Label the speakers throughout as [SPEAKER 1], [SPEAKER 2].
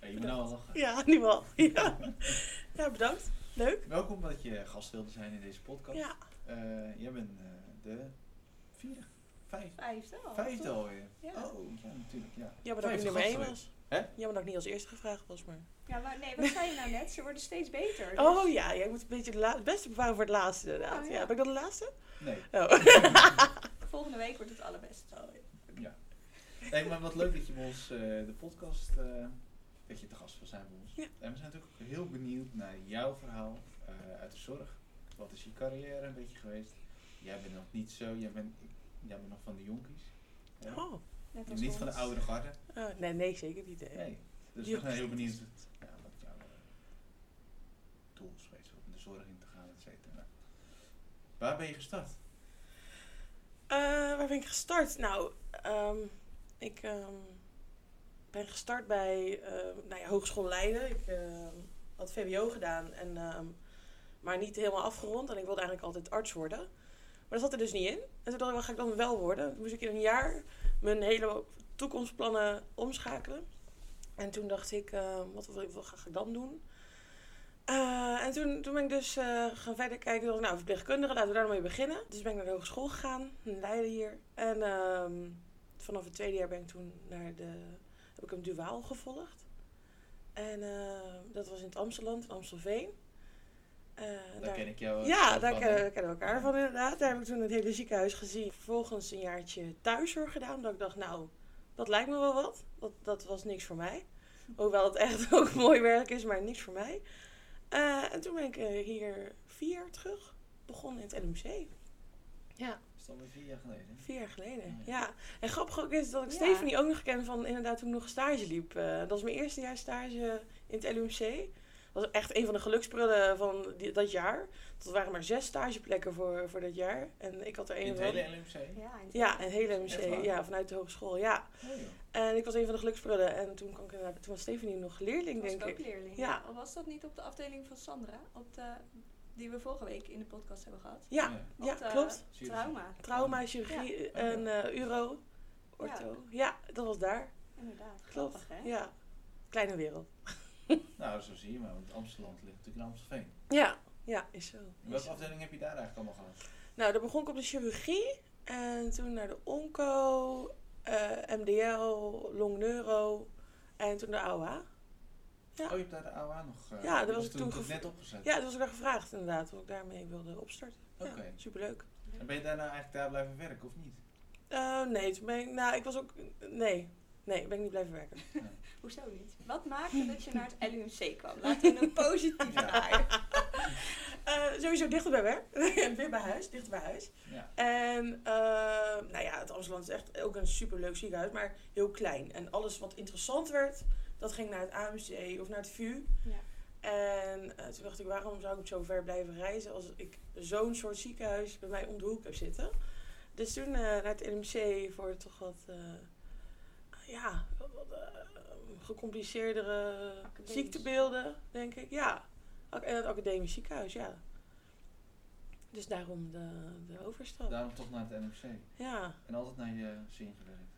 [SPEAKER 1] Ja, je moet nou al lachen.
[SPEAKER 2] Ja, nu wel. Ja. ja, bedankt. Leuk.
[SPEAKER 1] Welkom dat je gast wilde zijn in deze podcast.
[SPEAKER 2] Ja,
[SPEAKER 1] Eh, jij bent eh, de vierde, vijf,
[SPEAKER 3] Vijfde
[SPEAKER 2] Oh,
[SPEAKER 3] al.
[SPEAKER 1] vijfde alweer.
[SPEAKER 3] Ja.
[SPEAKER 1] Oh, ja, natuurlijk, ja.
[SPEAKER 2] jammer dat ik
[SPEAKER 1] Vijfde
[SPEAKER 2] nummer
[SPEAKER 1] gast
[SPEAKER 2] 1
[SPEAKER 1] alweer.
[SPEAKER 2] was.
[SPEAKER 1] Hè?
[SPEAKER 2] Jammer dat ik niet als eerste gevraagd was, maar...
[SPEAKER 3] Ja, maar nee, wat zei je nou net? Ze worden steeds beter. dus-
[SPEAKER 2] Oh ja, ja ik moet een beetje de la- het beste bewaren voor het laatste inderdaad.
[SPEAKER 3] Oh,
[SPEAKER 2] ja.
[SPEAKER 3] ja.
[SPEAKER 2] ben ik dat de laatste?
[SPEAKER 1] Nee.
[SPEAKER 2] Oh.
[SPEAKER 3] Volgende week wordt het allerbeste.
[SPEAKER 1] nee, maar wat leuk dat je bij ons eh, de podcast, eh, dat je te gast wil zijn bij ons.
[SPEAKER 2] Ja.
[SPEAKER 1] En we zijn natuurlijk ook heel benieuwd naar jouw verhaal eh, uit de zorg. Wat is je carrière een beetje geweest? Jij bent nog niet zo, jij bent, jij bent nog van de jonkies. Ja.
[SPEAKER 2] Oh.
[SPEAKER 3] Net als
[SPEAKER 1] Niet van de
[SPEAKER 3] ons.
[SPEAKER 1] oudere garde.
[SPEAKER 2] Oh, nee, nee, zeker niet. hè.
[SPEAKER 1] Nee. Dus
[SPEAKER 2] Ja.
[SPEAKER 1] we zijn heel benieuwd ja, wat jouw eh, doel is geweest om de zorg in te gaan, et cetera. Waar ben je gestart?
[SPEAKER 2] Eh, waar ben ik gestart? Nou, ehm, ik ehm, ben gestart bij ehm, nou ja, Hogeschool Leiden. Ik ehm, had VWO gedaan, en, ehm, maar niet helemaal afgerond. En ik wilde eigenlijk altijd arts worden. Maar dat zat er dus niet in. En toen dacht ik, wat ga ik dan wel worden? Toen moest ik in een jaar mijn hele toekomstplannen omschakelen. En toen dacht ik, ehm, wat, wil ik- wat ga ik dan doen? Eh, en toen, toen ben ik dus eh, gaan verder kijken. Toen dacht ik, nou, verpleegkundige, laten we daarmee beginnen. Dus ben ik naar de hogeschool gegaan, in Leiden hier. En ehm, vanaf het tweede jaar ben ik toen naar de... heb ik een duaal gevolgd. En ehm, dat was in het Amsterdam, in Amstelveen. Eh,
[SPEAKER 1] Daar ken ik jou. eh,
[SPEAKER 2] ja, daar
[SPEAKER 1] van,
[SPEAKER 2] kennen,
[SPEAKER 1] hè?
[SPEAKER 2] we- kennen we elkaar
[SPEAKER 1] Ja.
[SPEAKER 2] van inderdaad. Daar heb ik toen het hele ziekenhuis gezien. Vervolgens een jaartje thuiszorg gedaan. Omdat ik dacht, nou, dat lijkt me wel wat. Dat, dat was niks voor mij. Hoewel het echt ook mooi werk is, maar niks voor mij. Eh, en toen ben ik eh, hier vier jaar terug begonnen in het LMC. Ja.
[SPEAKER 1] Is dat alweer vier jaar geleden?
[SPEAKER 2] Vier jaar geleden,
[SPEAKER 1] Ja.
[SPEAKER 2] ja. En grappig ook is dat ik
[SPEAKER 3] Ja.
[SPEAKER 2] Stephanie ook nog ken van inderdaad toen ik nog stage liep. Eh, dat was mijn eerste jaar stage in het LUMC. Dat was echt een van de geluksprullen van die- dat jaar. Dat waren maar zes stageplekken voor, voor dat jaar. En ik had er
[SPEAKER 1] In
[SPEAKER 2] één
[SPEAKER 1] het
[SPEAKER 2] van.
[SPEAKER 1] hele LMC?
[SPEAKER 3] Ja, en-
[SPEAKER 2] Ja, een hele
[SPEAKER 1] Echt waar?
[SPEAKER 2] LUMC. Ja, vanuit de hogeschool, ja.
[SPEAKER 1] Oh, joh.
[SPEAKER 2] En ik was een van de geluksprullen. En toen, kwam ik inderdaad- toen was Stephanie nog leerling,
[SPEAKER 3] was
[SPEAKER 2] denk
[SPEAKER 3] ik ook
[SPEAKER 2] ik.
[SPEAKER 3] leerling.
[SPEAKER 2] Ja.
[SPEAKER 3] Al was dat niet op de afdeling van Sandra, op de, die we vorige week in de podcast hebben gehad.
[SPEAKER 2] Ja,
[SPEAKER 3] Op
[SPEAKER 2] ja
[SPEAKER 3] de
[SPEAKER 2] klopt.
[SPEAKER 1] zie je dat zo?
[SPEAKER 3] Trauma,
[SPEAKER 2] Trauma, chirurgie en eh, uro, ortho. Ja, dat was daar.
[SPEAKER 3] inderdaad.
[SPEAKER 2] Klopt.
[SPEAKER 3] Grappig, hè?
[SPEAKER 2] Ja, kleine wereld.
[SPEAKER 1] Nou, zo zie je maar, want Amsterdam ligt natuurlijk in Amstelveen.
[SPEAKER 2] Ja, ja, is zo.
[SPEAKER 1] En
[SPEAKER 2] Is
[SPEAKER 1] welke
[SPEAKER 2] zo.
[SPEAKER 1] afdeling heb je daar eigenlijk allemaal gehad?
[SPEAKER 2] Nou, daar begon ik op de chirurgie. En toen naar de onco, eh, MDL, long neuro en toen de AOA. Ja.
[SPEAKER 1] Oh, je hebt daar de AOA nog. eh,
[SPEAKER 2] Ja, daar
[SPEAKER 1] die
[SPEAKER 2] was ik toen
[SPEAKER 1] toch
[SPEAKER 2] gev-
[SPEAKER 1] net opgezet.
[SPEAKER 2] Ja, dat was ik daar gevraagd inderdaad, of ik daarmee wilde opstarten.
[SPEAKER 1] Oké.
[SPEAKER 2] Ja, superleuk.
[SPEAKER 1] En ben je daarna eigenlijk daar blijven werken of niet?
[SPEAKER 2] Eh, nee, toen ben ik, nou, ik was ook, nee, nee, ben ik niet blijven werken.
[SPEAKER 3] Hoezo niet? Wat maakte dat je naar het LUMC kwam? Laten we een positief
[SPEAKER 1] Ja.
[SPEAKER 3] naar.
[SPEAKER 2] Eh, sowieso dichter bij werk, weer bij huis, dichter bij huis.
[SPEAKER 1] Ja.
[SPEAKER 2] En eh, nou ja, het Amsterdam is echt ook een superleuk ziekenhuis, maar heel klein. En alles wat interessant werd, dat ging naar het AMC of naar het VU.
[SPEAKER 3] Ja.
[SPEAKER 2] En eh, toen dacht ik, waarom zou ik zo ver blijven reizen als ik zo'n soort ziekenhuis bij mij om de hoek heb zitten? Dus toen eh, naar het LMC voor toch wat, eh, ja, wat, eh, gecompliceerdere
[SPEAKER 3] Academisch.
[SPEAKER 2] ziektebeelden, denk ik. Ja, Ac- en het academisch ziekenhuis, ja. Dus daarom de, de overstap.
[SPEAKER 1] Daarom toch naar het NMC.
[SPEAKER 2] Ja,
[SPEAKER 1] En altijd naar je zin gewerkt.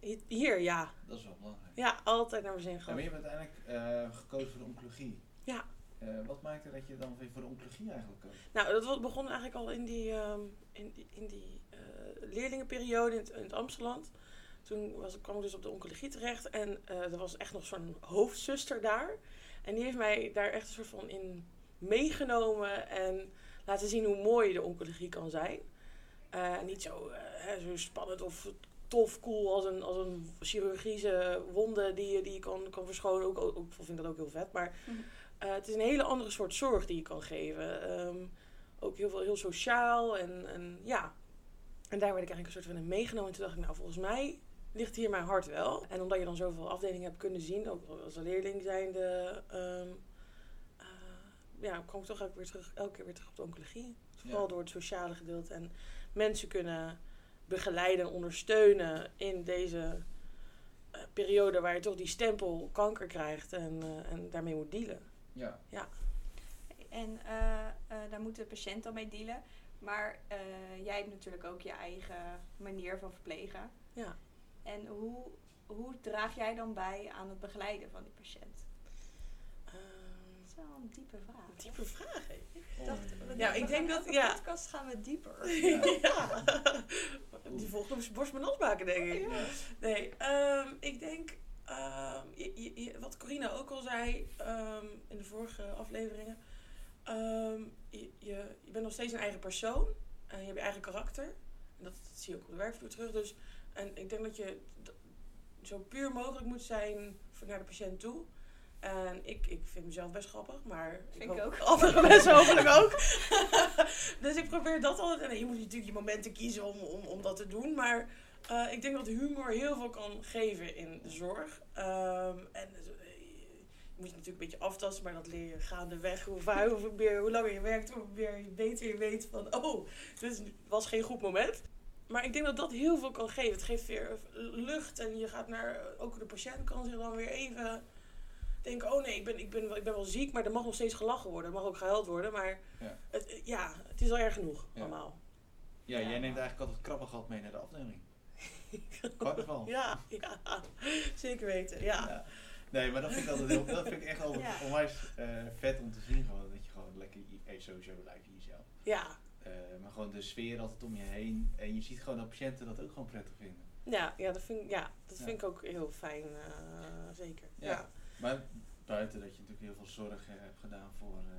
[SPEAKER 2] Hi- hier ja.
[SPEAKER 1] Dat is wel belangrijk.
[SPEAKER 2] Ja, altijd naar mijn zin
[SPEAKER 1] Ja, maar
[SPEAKER 2] gaan.
[SPEAKER 1] je hebt uiteindelijk eh, gekozen voor de oncologie.
[SPEAKER 2] Ja.
[SPEAKER 1] Eh, wat maakte dat je dan weer voor de oncologie eigenlijk koos?
[SPEAKER 2] Nou, dat wa- begon eigenlijk al in die, ehm, in die, in die eh, leerlingenperiode in het, in het Amsterdam. Toen was, kwam ik dus op de oncologie terecht en eh, er was echt nog zo'n hoofdzuster daar. En die heeft mij daar echt een soort van in meegenomen en laten zien hoe mooi de oncologie kan zijn. Eh, niet zo, eh, hè, zo spannend of tof, cool als een, als een chirurgische wonde die je, die je kan, kan verschonen. Ook, ook, ook vind ik dat ook heel vet. Maar
[SPEAKER 3] Mhm.
[SPEAKER 2] eh, het is een hele andere soort zorg die je kan geven. Ehm, ook heel, veel, heel sociaal en, en ja. En daar werd ik eigenlijk een soort van in meegenomen. En toen dacht ik, nou volgens mij ligt hier mijn hart wel. En omdat je dan zoveel afdelingen hebt kunnen zien, ook als leerling zijnde, ehm eh, ja, kwam ik toch elke, weer terug, elke keer weer terug op de oncologie. Vooral
[SPEAKER 1] Ja.
[SPEAKER 2] door het sociale gedeelte en mensen kunnen begeleiden en ondersteunen in deze eh, periode waar je toch die stempel kanker krijgt en, eh, en daarmee moet dealen.
[SPEAKER 1] Ja,
[SPEAKER 3] En eh, eh, daar moet de patiënt dan mee dealen. Maar eh, jij hebt natuurlijk ook je eigen manier van verplegen.
[SPEAKER 2] Ja.
[SPEAKER 3] En hoe, hoe draag jij dan bij aan het begeleiden van die patiënt?
[SPEAKER 2] Ehm,
[SPEAKER 3] Dat is wel een diepe vraag.
[SPEAKER 2] diepe vraag, hè?
[SPEAKER 3] Ik
[SPEAKER 1] om-
[SPEAKER 3] dacht, we-
[SPEAKER 2] Ja,
[SPEAKER 3] we
[SPEAKER 2] ik
[SPEAKER 3] gaan
[SPEAKER 2] denk dat-
[SPEAKER 3] elke
[SPEAKER 2] ja.
[SPEAKER 3] podcast gaan we dieper.
[SPEAKER 2] ja. Die volgt op zijn borst mijn nat maken, denk ik.
[SPEAKER 3] Ja.
[SPEAKER 2] Nee, ehm, ik denk, ehm, je- je- je- wat Corina ook al zei ehm, in de vorige afleveringen, ehm, je, je, je bent nog steeds een eigen persoon en je hebt je eigen karakter. En dat, dat zie je ook op de werkvloer terug. Dus, en ik denk dat je d- zo puur mogelijk moet zijn voor- naar de patiënt toe. En ik, ik vind mezelf best grappig, maar
[SPEAKER 3] Vind ik
[SPEAKER 2] hoop
[SPEAKER 3] ook.
[SPEAKER 2] Anderen best hopelijk ook. dus ik probeer dat altijd. En je moet natuurlijk je momenten kiezen om, om, om dat te doen. Maar eh, ik denk dat humor heel veel kan geven in de zorg. Ehm, en eh, je moet je natuurlijk een beetje aftasten, maar dat leer je gaandeweg. Hoe, vaak- hoe, meer, hoe langer je werkt, hoe meer je beter je weet van... Oh, dit was geen goed moment. Maar ik denk dat dat heel veel kan geven. Het geeft weer lucht en je gaat naar... Ook de patiënt kan zich dan weer even denken... Oh nee, ik ben, ik ben, wel- ik ben wel ziek, maar er mag nog steeds gelachen worden. Er mag ook gehuild worden, maar...
[SPEAKER 1] Ja.
[SPEAKER 2] Het, ja, het is al erg genoeg,
[SPEAKER 1] Ja.
[SPEAKER 2] allemaal.
[SPEAKER 1] ja, jij neemt eigenlijk altijd krabbengat mee naar de afdeling. Carnaval.
[SPEAKER 2] Ja, ja, zeker weten, ja.
[SPEAKER 1] Ja. Nee, maar dat vind ik altijd heel, dat vind ik echt altijd
[SPEAKER 3] Ja.
[SPEAKER 1] onwijs eh, vet om te zien. Gewoon, dat je gewoon lekker, je- eh, sowieso lijkt je jezelf.
[SPEAKER 2] Ja,
[SPEAKER 1] Eh, maar gewoon de sfeer altijd om je heen. En je ziet gewoon dat patiënten dat ook gewoon prettig vinden.
[SPEAKER 2] ja, ja, dat, vind, ik- ja, dat
[SPEAKER 1] Ja.
[SPEAKER 2] vind ik ook heel fijn, eh, zeker.
[SPEAKER 1] Ja.
[SPEAKER 2] ja.
[SPEAKER 1] Maar buiten dat je natuurlijk heel veel zorg eh, hebt gedaan voor eh,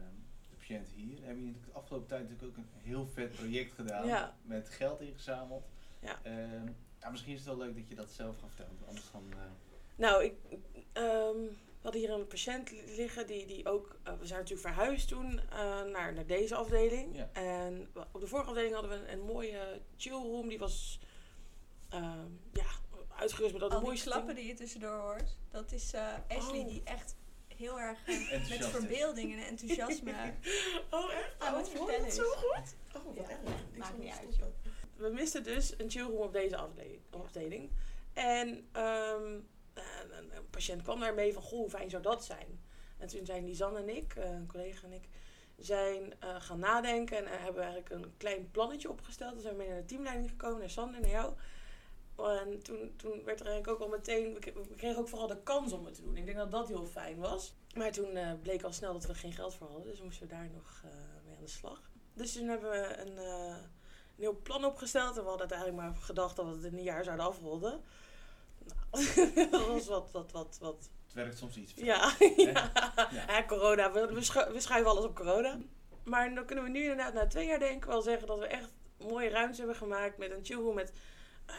[SPEAKER 1] de patiënt hier, heb je natuurlijk de afgelopen tijd natuurlijk ook een heel vet project gedaan.
[SPEAKER 2] Ja.
[SPEAKER 1] Met geld ingezameld.
[SPEAKER 2] Ja.
[SPEAKER 1] Ehm, ja, misschien is het wel leuk dat je dat zelf gaat vertellen. want Anders dan. eh,
[SPEAKER 2] Nou, ik, ehm, we hadden hier een patiënt liggen die, die ook... eh, we zijn natuurlijk verhuisd toen eh, naar, naar deze afdeling.
[SPEAKER 1] Ja.
[SPEAKER 2] En we- op de vorige afdeling hadden we een, een mooie chillroom. Die was ehm, ja, uitgerust met dat
[SPEAKER 3] Al die
[SPEAKER 2] mooiste...
[SPEAKER 3] klappen die je tussendoor hoort, dat is eh, Ashley
[SPEAKER 2] Oh.
[SPEAKER 3] die echt heel erg eh,
[SPEAKER 1] Enthousiast
[SPEAKER 3] met
[SPEAKER 1] is.
[SPEAKER 3] verbeelding en enthousiasme Ah,
[SPEAKER 2] Oh, echt?
[SPEAKER 3] aan het
[SPEAKER 2] oh, hoor je
[SPEAKER 3] vertellen
[SPEAKER 2] dat
[SPEAKER 3] is.
[SPEAKER 2] zo goed? Oh, wat
[SPEAKER 3] Ja,
[SPEAKER 2] erg. Ik
[SPEAKER 3] maakt
[SPEAKER 2] zal
[SPEAKER 3] niet
[SPEAKER 2] het
[SPEAKER 3] uit,
[SPEAKER 2] stoppen. We misten dus een chillroom op deze afdeling. afdeling. En ehm, een, een- een patiënt kwam daarmee van, goh, hoe fijn zou dat zijn? En toen zijn Lisanne en ik, eh, een collega en ik, zijn eh, gaan nadenken en eh, hebben eigenlijk een klein plannetje opgesteld. Toen zijn we mee naar de teamleiding gekomen, naar Sander, naar jou. En toen, toen werd er eigenlijk ook al meteen, we k- we kregen ook vooral de kans om het te doen. Ik denk dat dat heel fijn was. Maar toen eh, bleek al snel dat we er geen geld voor hadden, dus moesten we daar nog eh, mee aan de slag. Dus toen hebben we een, eh, een heel plan opgesteld en we hadden uiteindelijk maar gedacht dat we het in een jaar zouden afronden. Nou, dat was wat, wat, wat, wat
[SPEAKER 1] Het werkt soms iets.
[SPEAKER 2] ja, ja. Ja, corona. We, we, schu- we schuiven alles op corona. Maar dan kunnen we nu inderdaad na twee jaar denk ik wel zeggen dat we echt mooie ruimtes hebben gemaakt met een chillroom, met eh,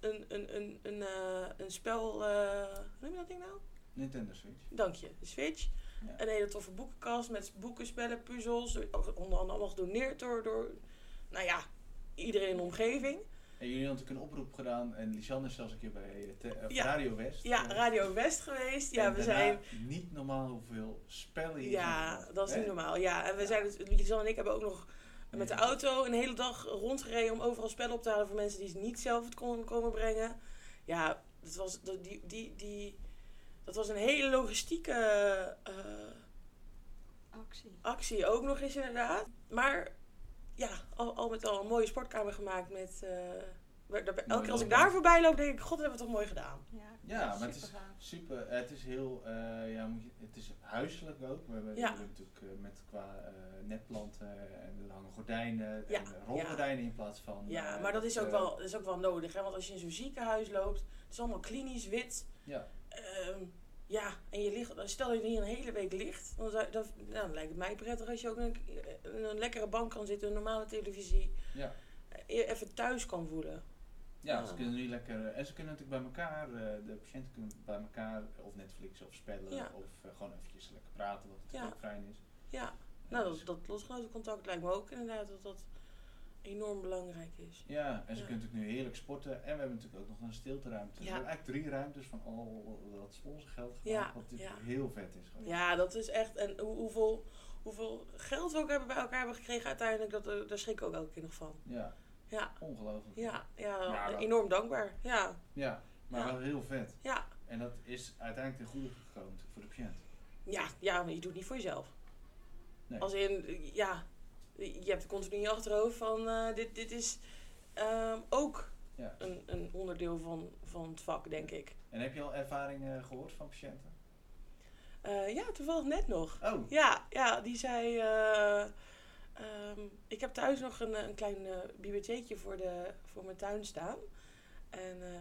[SPEAKER 2] een, een, een, een, eh, een spel... eh, hoe noem je dat ding nou?
[SPEAKER 1] Nintendo Switch.
[SPEAKER 2] Dank je. De Switch.
[SPEAKER 1] Ja.
[SPEAKER 2] Een hele toffe boekenkast met boeken, spellen, puzzels. oh, Onder andere allemaal gedoneerd door, door nou ja, iedereen in de omgeving.
[SPEAKER 1] En jullie hadden natuurlijk een oproep gedaan. En Lisanne is zelfs een keer bij eh, te- eh,
[SPEAKER 2] Ja.
[SPEAKER 1] Radio West.
[SPEAKER 2] Ja,
[SPEAKER 1] eh,
[SPEAKER 2] Radio West geweest. Ja,
[SPEAKER 1] en
[SPEAKER 2] we
[SPEAKER 1] daarna
[SPEAKER 2] zijn...
[SPEAKER 1] Niet normaal hoeveel spellen hier
[SPEAKER 2] Ja,
[SPEAKER 1] zijn.
[SPEAKER 2] dat is
[SPEAKER 1] Hè?
[SPEAKER 2] niet normaal. Ja, en we
[SPEAKER 1] Ja.
[SPEAKER 2] zijn dus, Lisanne en ik hebben ook nog met de
[SPEAKER 1] Ja.
[SPEAKER 2] auto een hele dag rondgereden om overal spellen op te halen voor mensen die ze niet zelf het konden komen brengen. Ja, dat was, dat, die, die, die, dat was een hele logistieke eh,
[SPEAKER 3] Actie.
[SPEAKER 2] actie ook nog eens inderdaad. Maar ja, al, al met al een mooie sportkamer gemaakt met... eh, waar- daar- elke keer als ik
[SPEAKER 1] loopbaan.
[SPEAKER 2] daar voorbij loop, denk ik, god, dat hebben we toch mooi gedaan.
[SPEAKER 3] Ja,
[SPEAKER 1] Ja, maar het
[SPEAKER 3] super
[SPEAKER 1] is
[SPEAKER 3] gaaf.
[SPEAKER 1] super. eh, Het is heel, eh, ja, moet je, het is huiselijk ook. We hebben,
[SPEAKER 2] Ja.
[SPEAKER 1] we hebben natuurlijk eh, met qua eh netplanten en er hangen gordijnen
[SPEAKER 2] Ja,
[SPEAKER 1] en eh, rolgordijnen in plaats van.
[SPEAKER 2] Ja,
[SPEAKER 1] eh,
[SPEAKER 2] maar dat is ook
[SPEAKER 1] eh,
[SPEAKER 2] wel, dat is ook wel nodig. Hè? Want als je in zo'n ziekenhuis loopt, het is allemaal klinisch wit.
[SPEAKER 1] Ja.
[SPEAKER 2] Ehm, ja, en je ligt, stel dat je hier een hele week ligt, dan, zou, dan, nou, dan lijkt het mij prettig als je ook in een, in een lekkere bank kan zitten, een normale televisie,
[SPEAKER 1] Ja.
[SPEAKER 2] eh, je even thuis kan voelen.
[SPEAKER 1] Ja,
[SPEAKER 2] Ja.
[SPEAKER 1] ze kunnen nu lekker. eh, En ze kunnen natuurlijk bij elkaar, eh, de patiënten kunnen bij elkaar eh, of Netflix of spellen
[SPEAKER 2] Ja.
[SPEAKER 1] of eh, gewoon eventjes lekker praten, wat natuurlijk
[SPEAKER 2] Ja.
[SPEAKER 1] ook fijn is.
[SPEAKER 2] Ja,
[SPEAKER 1] Eh,
[SPEAKER 2] nou
[SPEAKER 1] dus-
[SPEAKER 2] dat, dat lotgenotencontact lijkt me ook inderdaad dat dat enorm belangrijk is.
[SPEAKER 1] Ja, en ze
[SPEAKER 2] Ja.
[SPEAKER 1] kunnen natuurlijk nu heerlijk sporten. En we hebben natuurlijk ook nog een stilteruimte.
[SPEAKER 2] Ja.
[SPEAKER 1] We hebben eigenlijk drie ruimtes van al dat Poolse geld gemaakt.
[SPEAKER 2] Ja,
[SPEAKER 1] Wat natuurlijk
[SPEAKER 2] ja.
[SPEAKER 1] heel vet is. gewoon.
[SPEAKER 2] Ja, dat is echt. En hoe, hoeveel, hoeveel geld we ook hebben bij elkaar hebben gekregen uiteindelijk, dat, eh, daar schrik ik ook elke keer nog van.
[SPEAKER 1] Ja,
[SPEAKER 2] Ja,
[SPEAKER 1] ongelooflijk.
[SPEAKER 2] ja, ja, eh,
[SPEAKER 1] Ja, dat-
[SPEAKER 2] enorm dankbaar. Ja,
[SPEAKER 1] Ja, maar
[SPEAKER 2] Ja.
[SPEAKER 1] wel heel vet.
[SPEAKER 2] ja.
[SPEAKER 1] En dat is uiteindelijk ten goede gekomen voor de patiënt.
[SPEAKER 2] Ja, ja, maar je doet het niet voor jezelf.
[SPEAKER 1] Nee.
[SPEAKER 2] Als in, ja, je hebt continu in je achterhoofd van eh, dit, dit is ehm, ook
[SPEAKER 1] Ja.
[SPEAKER 2] een, een onderdeel van, van het vak, denk ik.
[SPEAKER 1] En heb je al ervaring eh, gehoord van patiënten?
[SPEAKER 2] Eh, ja, toevallig net nog.
[SPEAKER 1] Oh,
[SPEAKER 2] Ja, ja die zei. eh, ehm, ik heb thuis nog een, eh, een klein eh, bibliotheekje voor, de, voor mijn tuin staan. En eh,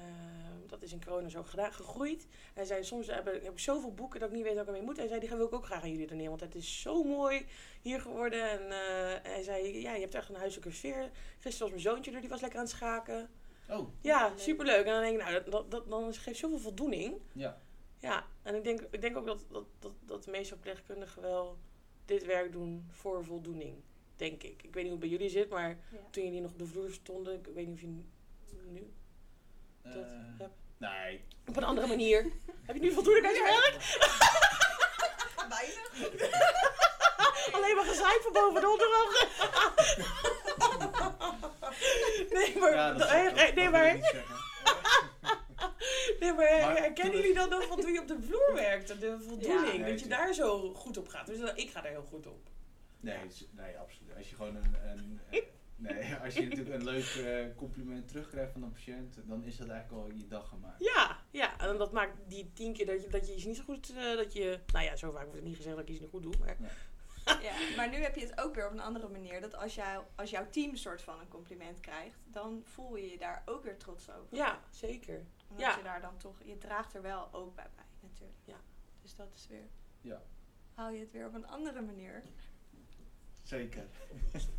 [SPEAKER 2] dat is in corona zo gedaan, gegroeid. Hij zei, soms heb ik, heb ik zoveel boeken dat ik niet weet wat ik ermee moet. Hij zei, die wil ik ook graag aan jullie doneren, want het is zo mooi hier geworden. En eh, hij zei, ja, je hebt echt een huiselijke sfeer. Gisteren was mijn zoontje er, die was lekker aan het schaken.
[SPEAKER 1] oh,
[SPEAKER 2] Ja, superleuk. En dan denk ik, nou, dat, dat, dat, dan geeft zoveel voldoening.
[SPEAKER 1] ja.
[SPEAKER 2] Ja, en ik denk, ik denk ook dat, dat, dat, dat de meeste verpleegkundigen wel dit werk doen voor voldoening, denk ik. Ik weet niet hoe het bij jullie zit, maar
[SPEAKER 4] Ja.
[SPEAKER 2] toen jullie nog op de vloer stonden, ik weet niet of je nu- nu
[SPEAKER 1] Eh,
[SPEAKER 2] dat hebt.
[SPEAKER 1] Nee,
[SPEAKER 2] Op een andere manier. Heb je nu voldoening uit je werk?
[SPEAKER 3] Weinig.
[SPEAKER 2] Alleen maar gezeik van boven en onderaf. nee, maar,
[SPEAKER 1] ja, dat,
[SPEAKER 2] eh,
[SPEAKER 1] dat-
[SPEAKER 2] eh,
[SPEAKER 1] dat wil
[SPEAKER 2] nee,
[SPEAKER 1] ik
[SPEAKER 2] maar,
[SPEAKER 1] niet zeggen.
[SPEAKER 2] nee, maar eh,
[SPEAKER 1] Maar
[SPEAKER 2] herkennen
[SPEAKER 1] toen-
[SPEAKER 2] jullie dan ook van toen je op de vloer werkte? De voldoening,
[SPEAKER 1] Ja.
[SPEAKER 2] dat je daar zo goed op gaat. Dus eh, ik ga daar heel goed op.
[SPEAKER 1] Nee, het is- nee, absoluut. Als je gewoon een, een eh, nee, als je natuurlijk een leuk eh, compliment terugkrijgt van een patiënt, dan is dat eigenlijk al je dag gemaakt.
[SPEAKER 2] Ja, ja, en dat maakt die tien keer dat je, dat je iets niet zo goed, eh, dat je, nou ja, zo vaak wordt het niet gezegd dat ik iets niet goed doe, maar
[SPEAKER 3] Ja, maar nu heb je het ook weer op een andere manier. Dat als, jou, als jouw team soort van een compliment krijgt, dan voel je je daar ook weer trots over.
[SPEAKER 2] ja, zeker.
[SPEAKER 3] Omdat
[SPEAKER 2] Ja.
[SPEAKER 3] je daar dan toch, je draagt er wel ook bij bij natuurlijk.
[SPEAKER 2] Ja.
[SPEAKER 3] Dus dat is weer,
[SPEAKER 1] Ja.
[SPEAKER 3] haal je het weer op een andere manier.
[SPEAKER 1] Zeker.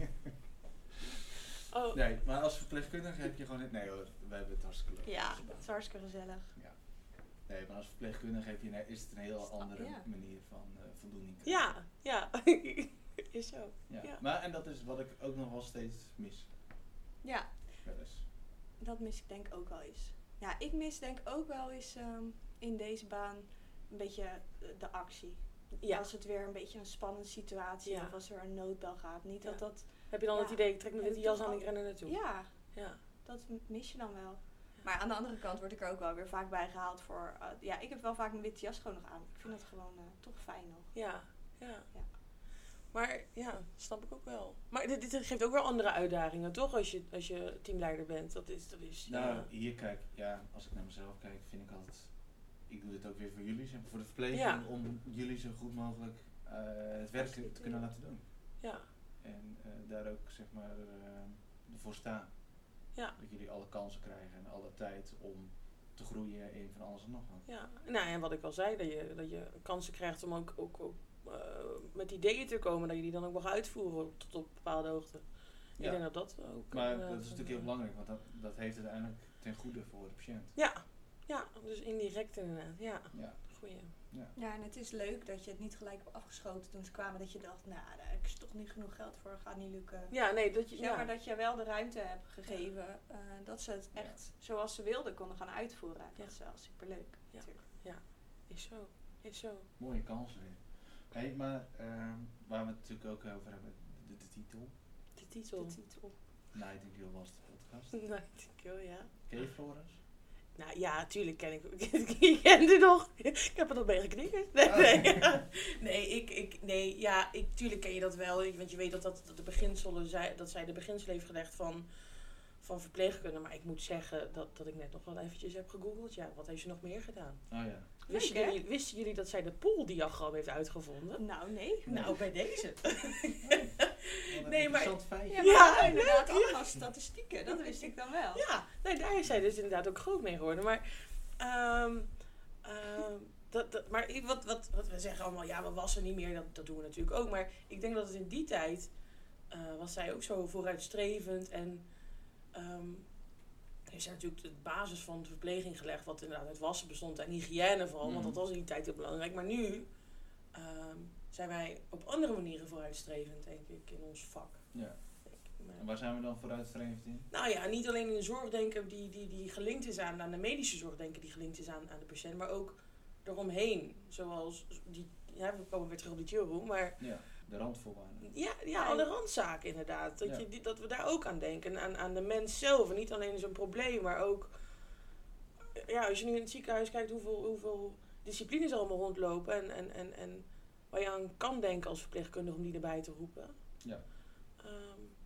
[SPEAKER 2] Oh,
[SPEAKER 1] Nee, maar als verpleegkundige heb je gewoon het. Nee hoor, wij hebben het hartstikke leuk.
[SPEAKER 3] Ja, dat is hartstikke gezellig.
[SPEAKER 1] Nee, maar als verpleegkundige heb je, is het een heel andere
[SPEAKER 3] Ja.
[SPEAKER 1] manier van eh, voldoening. krijgen.
[SPEAKER 2] ja, ja, is zo.
[SPEAKER 1] Ja.
[SPEAKER 2] ja.
[SPEAKER 1] Maar en dat is wat ik ook nog wel steeds mis.
[SPEAKER 3] Ja,
[SPEAKER 1] Wel eens.
[SPEAKER 3] dat mis ik denk ook wel eens. Ja, ik mis denk ook wel eens ehm, in deze baan een beetje eh, de actie.
[SPEAKER 2] Ja,
[SPEAKER 3] Als het weer een beetje een spannende situatie
[SPEAKER 2] Ja.
[SPEAKER 3] of als er een noodbel gaat. Niet dat
[SPEAKER 2] Ja.
[SPEAKER 3] dat...
[SPEAKER 2] heb je dan
[SPEAKER 3] Ja.
[SPEAKER 2] het idee, ik trek me
[SPEAKER 3] Ja,
[SPEAKER 2] met
[SPEAKER 3] dat
[SPEAKER 2] die jas
[SPEAKER 3] toch
[SPEAKER 2] aan en
[SPEAKER 3] al-
[SPEAKER 2] ik ren er naartoe?
[SPEAKER 3] Ja,
[SPEAKER 2] Ja.
[SPEAKER 3] dat m- mis je dan wel. Maar aan de andere kant word ik er ook wel weer vaak bij gehaald voor... eh, ja, ik heb wel vaak mijn witte jas gewoon nog aan. Ik vind dat gewoon eh, toch fijn nog.
[SPEAKER 2] Ja, ja.
[SPEAKER 3] Ja.
[SPEAKER 2] Maar ja, snap ik ook wel. Maar dit, dit geeft ook wel andere uitdagingen, toch? Als je, als je teamleider bent, dat is, dat is,
[SPEAKER 1] Nou,
[SPEAKER 2] ja.
[SPEAKER 1] hier kijk, ja, als ik naar mezelf kijk, vind ik altijd. Ik doe dit ook weer voor jullie, zeg maar, voor de verpleging,
[SPEAKER 2] Ja.
[SPEAKER 1] om jullie zo goed mogelijk eh, het werk te te kunnen laten doen.
[SPEAKER 2] ja.
[SPEAKER 1] En eh, daar ook, zeg maar, eh, voor staan.
[SPEAKER 2] Ja.
[SPEAKER 1] Dat jullie alle kansen krijgen en alle tijd om te groeien in van alles en nog wat.
[SPEAKER 2] Ja, nou en wat ik al zei, dat je, dat je kansen krijgt om ook, ook, ook eh, met ideeën te komen, dat je die dan ook mag uitvoeren tot op bepaalde hoogte. Ik
[SPEAKER 1] Ja.
[SPEAKER 2] denk dat dat ook.
[SPEAKER 1] Maar
[SPEAKER 2] een, eh,
[SPEAKER 1] dat is natuurlijk heel
[SPEAKER 2] een-
[SPEAKER 1] belangrijk, want dat, dat heeft uiteindelijk ten goede voor de patiënt.
[SPEAKER 2] Ja, ja, dus indirect inderdaad. Ja,
[SPEAKER 1] Ja.
[SPEAKER 2] goeie.
[SPEAKER 3] Ja, en het is leuk dat je het niet gelijk hebt afgeschoten toen ze kwamen. Dat je dacht, nou, daar heb ik toch niet genoeg geld voor. Gaat niet lukken.
[SPEAKER 2] Ja, nee, dat je.
[SPEAKER 3] Ja, maar
[SPEAKER 2] Ja,
[SPEAKER 3] dat je wel de ruimte hebt gegeven eh, dat ze het echt zoals ze wilden konden gaan uitvoeren. Dat
[SPEAKER 2] Ja.
[SPEAKER 3] is wel superleuk. natuurlijk.
[SPEAKER 2] is zo. Is zo.
[SPEAKER 1] Mooie kansen weer. Hey, maar ehm, waar we het natuurlijk ook over hebben, de, de titel.
[SPEAKER 2] De titel.
[SPEAKER 3] De titel.
[SPEAKER 1] Nightingale was de podcast.
[SPEAKER 2] Nou, ik denk, oh ja.
[SPEAKER 1] Ken je Florence?
[SPEAKER 2] Nou ja, tuurlijk ken ik. Ik ken die nog. Ik heb er nog mee geknikkerd. Nee,
[SPEAKER 1] Oh.
[SPEAKER 2] nee. nee, ik, ik, nee, ja, ik, tuurlijk ken je dat wel. Ik- Want je weet dat, dat, dat de beginselen zij, dat zij de beginselen heeft gelegd van, van verpleegkunde. Maar ik moet zeggen dat, dat ik net nog wel eventjes heb gegoogeld. Ja, wat heeft ze nog meer gedaan?
[SPEAKER 1] Oh ja.
[SPEAKER 2] Wisten,
[SPEAKER 3] Leuk, hè?
[SPEAKER 2] jullie, wisten jullie dat zij de pooldiagram heeft uitgevonden?
[SPEAKER 3] Nou, nee.
[SPEAKER 1] Nee.
[SPEAKER 2] Nou, bij deze.
[SPEAKER 1] Wat een
[SPEAKER 2] Nee, maar-
[SPEAKER 1] interessant feitje.
[SPEAKER 3] Ja,
[SPEAKER 2] Ja,
[SPEAKER 3] maar inderdaad,
[SPEAKER 2] leuk,
[SPEAKER 3] allemaal statistieken. Dat wist ik dan wel.
[SPEAKER 2] Ja, nee, daar is zij dus inderdaad ook groot mee geworden. Maar, ehm, ehm, dat, dat, maar ik- wat, wat, wat we zeggen allemaal, ja, we wassen niet meer, dat, dat doen we natuurlijk ook. Maar ik denk dat het in die tijd eh, was zij ook zo vooruitstrevend en ehm heeft zij natuurlijk de basis van de verpleging gelegd, wat inderdaad uit wassen bestond en hygiëne vooral, want
[SPEAKER 1] Mhm.
[SPEAKER 2] dat was in die tijd heel belangrijk. Maar nu ehm, zijn wij op andere manieren vooruitstrevend, denk ik, in ons vak.
[SPEAKER 1] Ja.
[SPEAKER 2] Denk ik.
[SPEAKER 1] En waar zijn we dan vooruitstrevend in?
[SPEAKER 2] Nou ja, niet alleen in de zorg denken die, die, die gelinkt is aan, aan de medische zorg denken die gelinkt is aan, aan de patiënt, maar ook eromheen. Zoals die, ja, we komen weer terug op die theorie, maar
[SPEAKER 1] Ja, de randvoorwaarden.
[SPEAKER 2] ja, ja, alle randzaken inderdaad. Dat,
[SPEAKER 1] Ja.
[SPEAKER 2] je, die- dat we daar ook aan denken, aan, aan de mens zelf. En niet alleen zijn probleem, maar ook, eh, ja, als je nu in het ziekenhuis kijkt hoeveel, hoeveel disciplines er allemaal rondlopen en, en, en, en waar je aan kan denken als verpleegkundige om die erbij te roepen.
[SPEAKER 1] Ja.
[SPEAKER 2] Ehm,